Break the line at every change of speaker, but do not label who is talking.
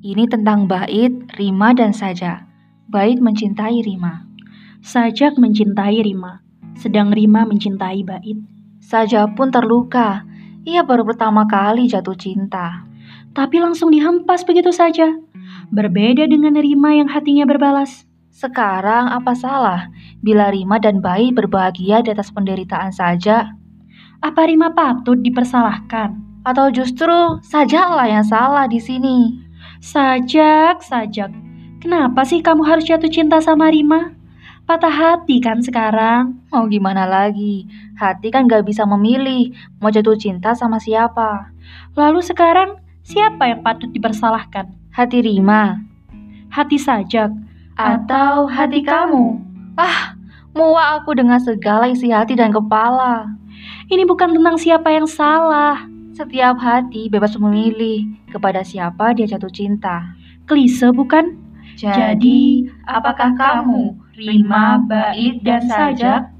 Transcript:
Ini tentang Bait, Rima, dan Sajak. Bait mencintai Rima.
Sajak mencintai Rima, sedang Rima mencintai Bait.
Sajak pun terluka. Ia baru pertama kali jatuh cinta.
Tapi langsung dihempas begitu saja. Berbeda dengan Rima yang hatinya berbalas.
Sekarang apa salah bila Rima dan Bait berbahagia di atas penderitaan saja?
Apa Rima patut dipersalahkan?
Atau justru sajalah yang salah di sini?
Sajak, sajak. Kenapa sih kamu harus jatuh cinta sama Rima? Patah hati kan sekarang?
Mau gimana lagi? Hati kan gak bisa memilih mau jatuh cinta sama siapa.
Lalu sekarang siapa yang patut dipersalahkan?
Hati Rima.
Hati sajak.
Atau hati kamu? Ah, muak aku dengan segala isi hati dan kepala.
Ini bukan tentang siapa yang salah.
Setiap hati bebas memilih kepada siapa dia jatuh cinta.
Klise bukan?
Jadi, apakah kamu, Rima, Bait, dan Sajak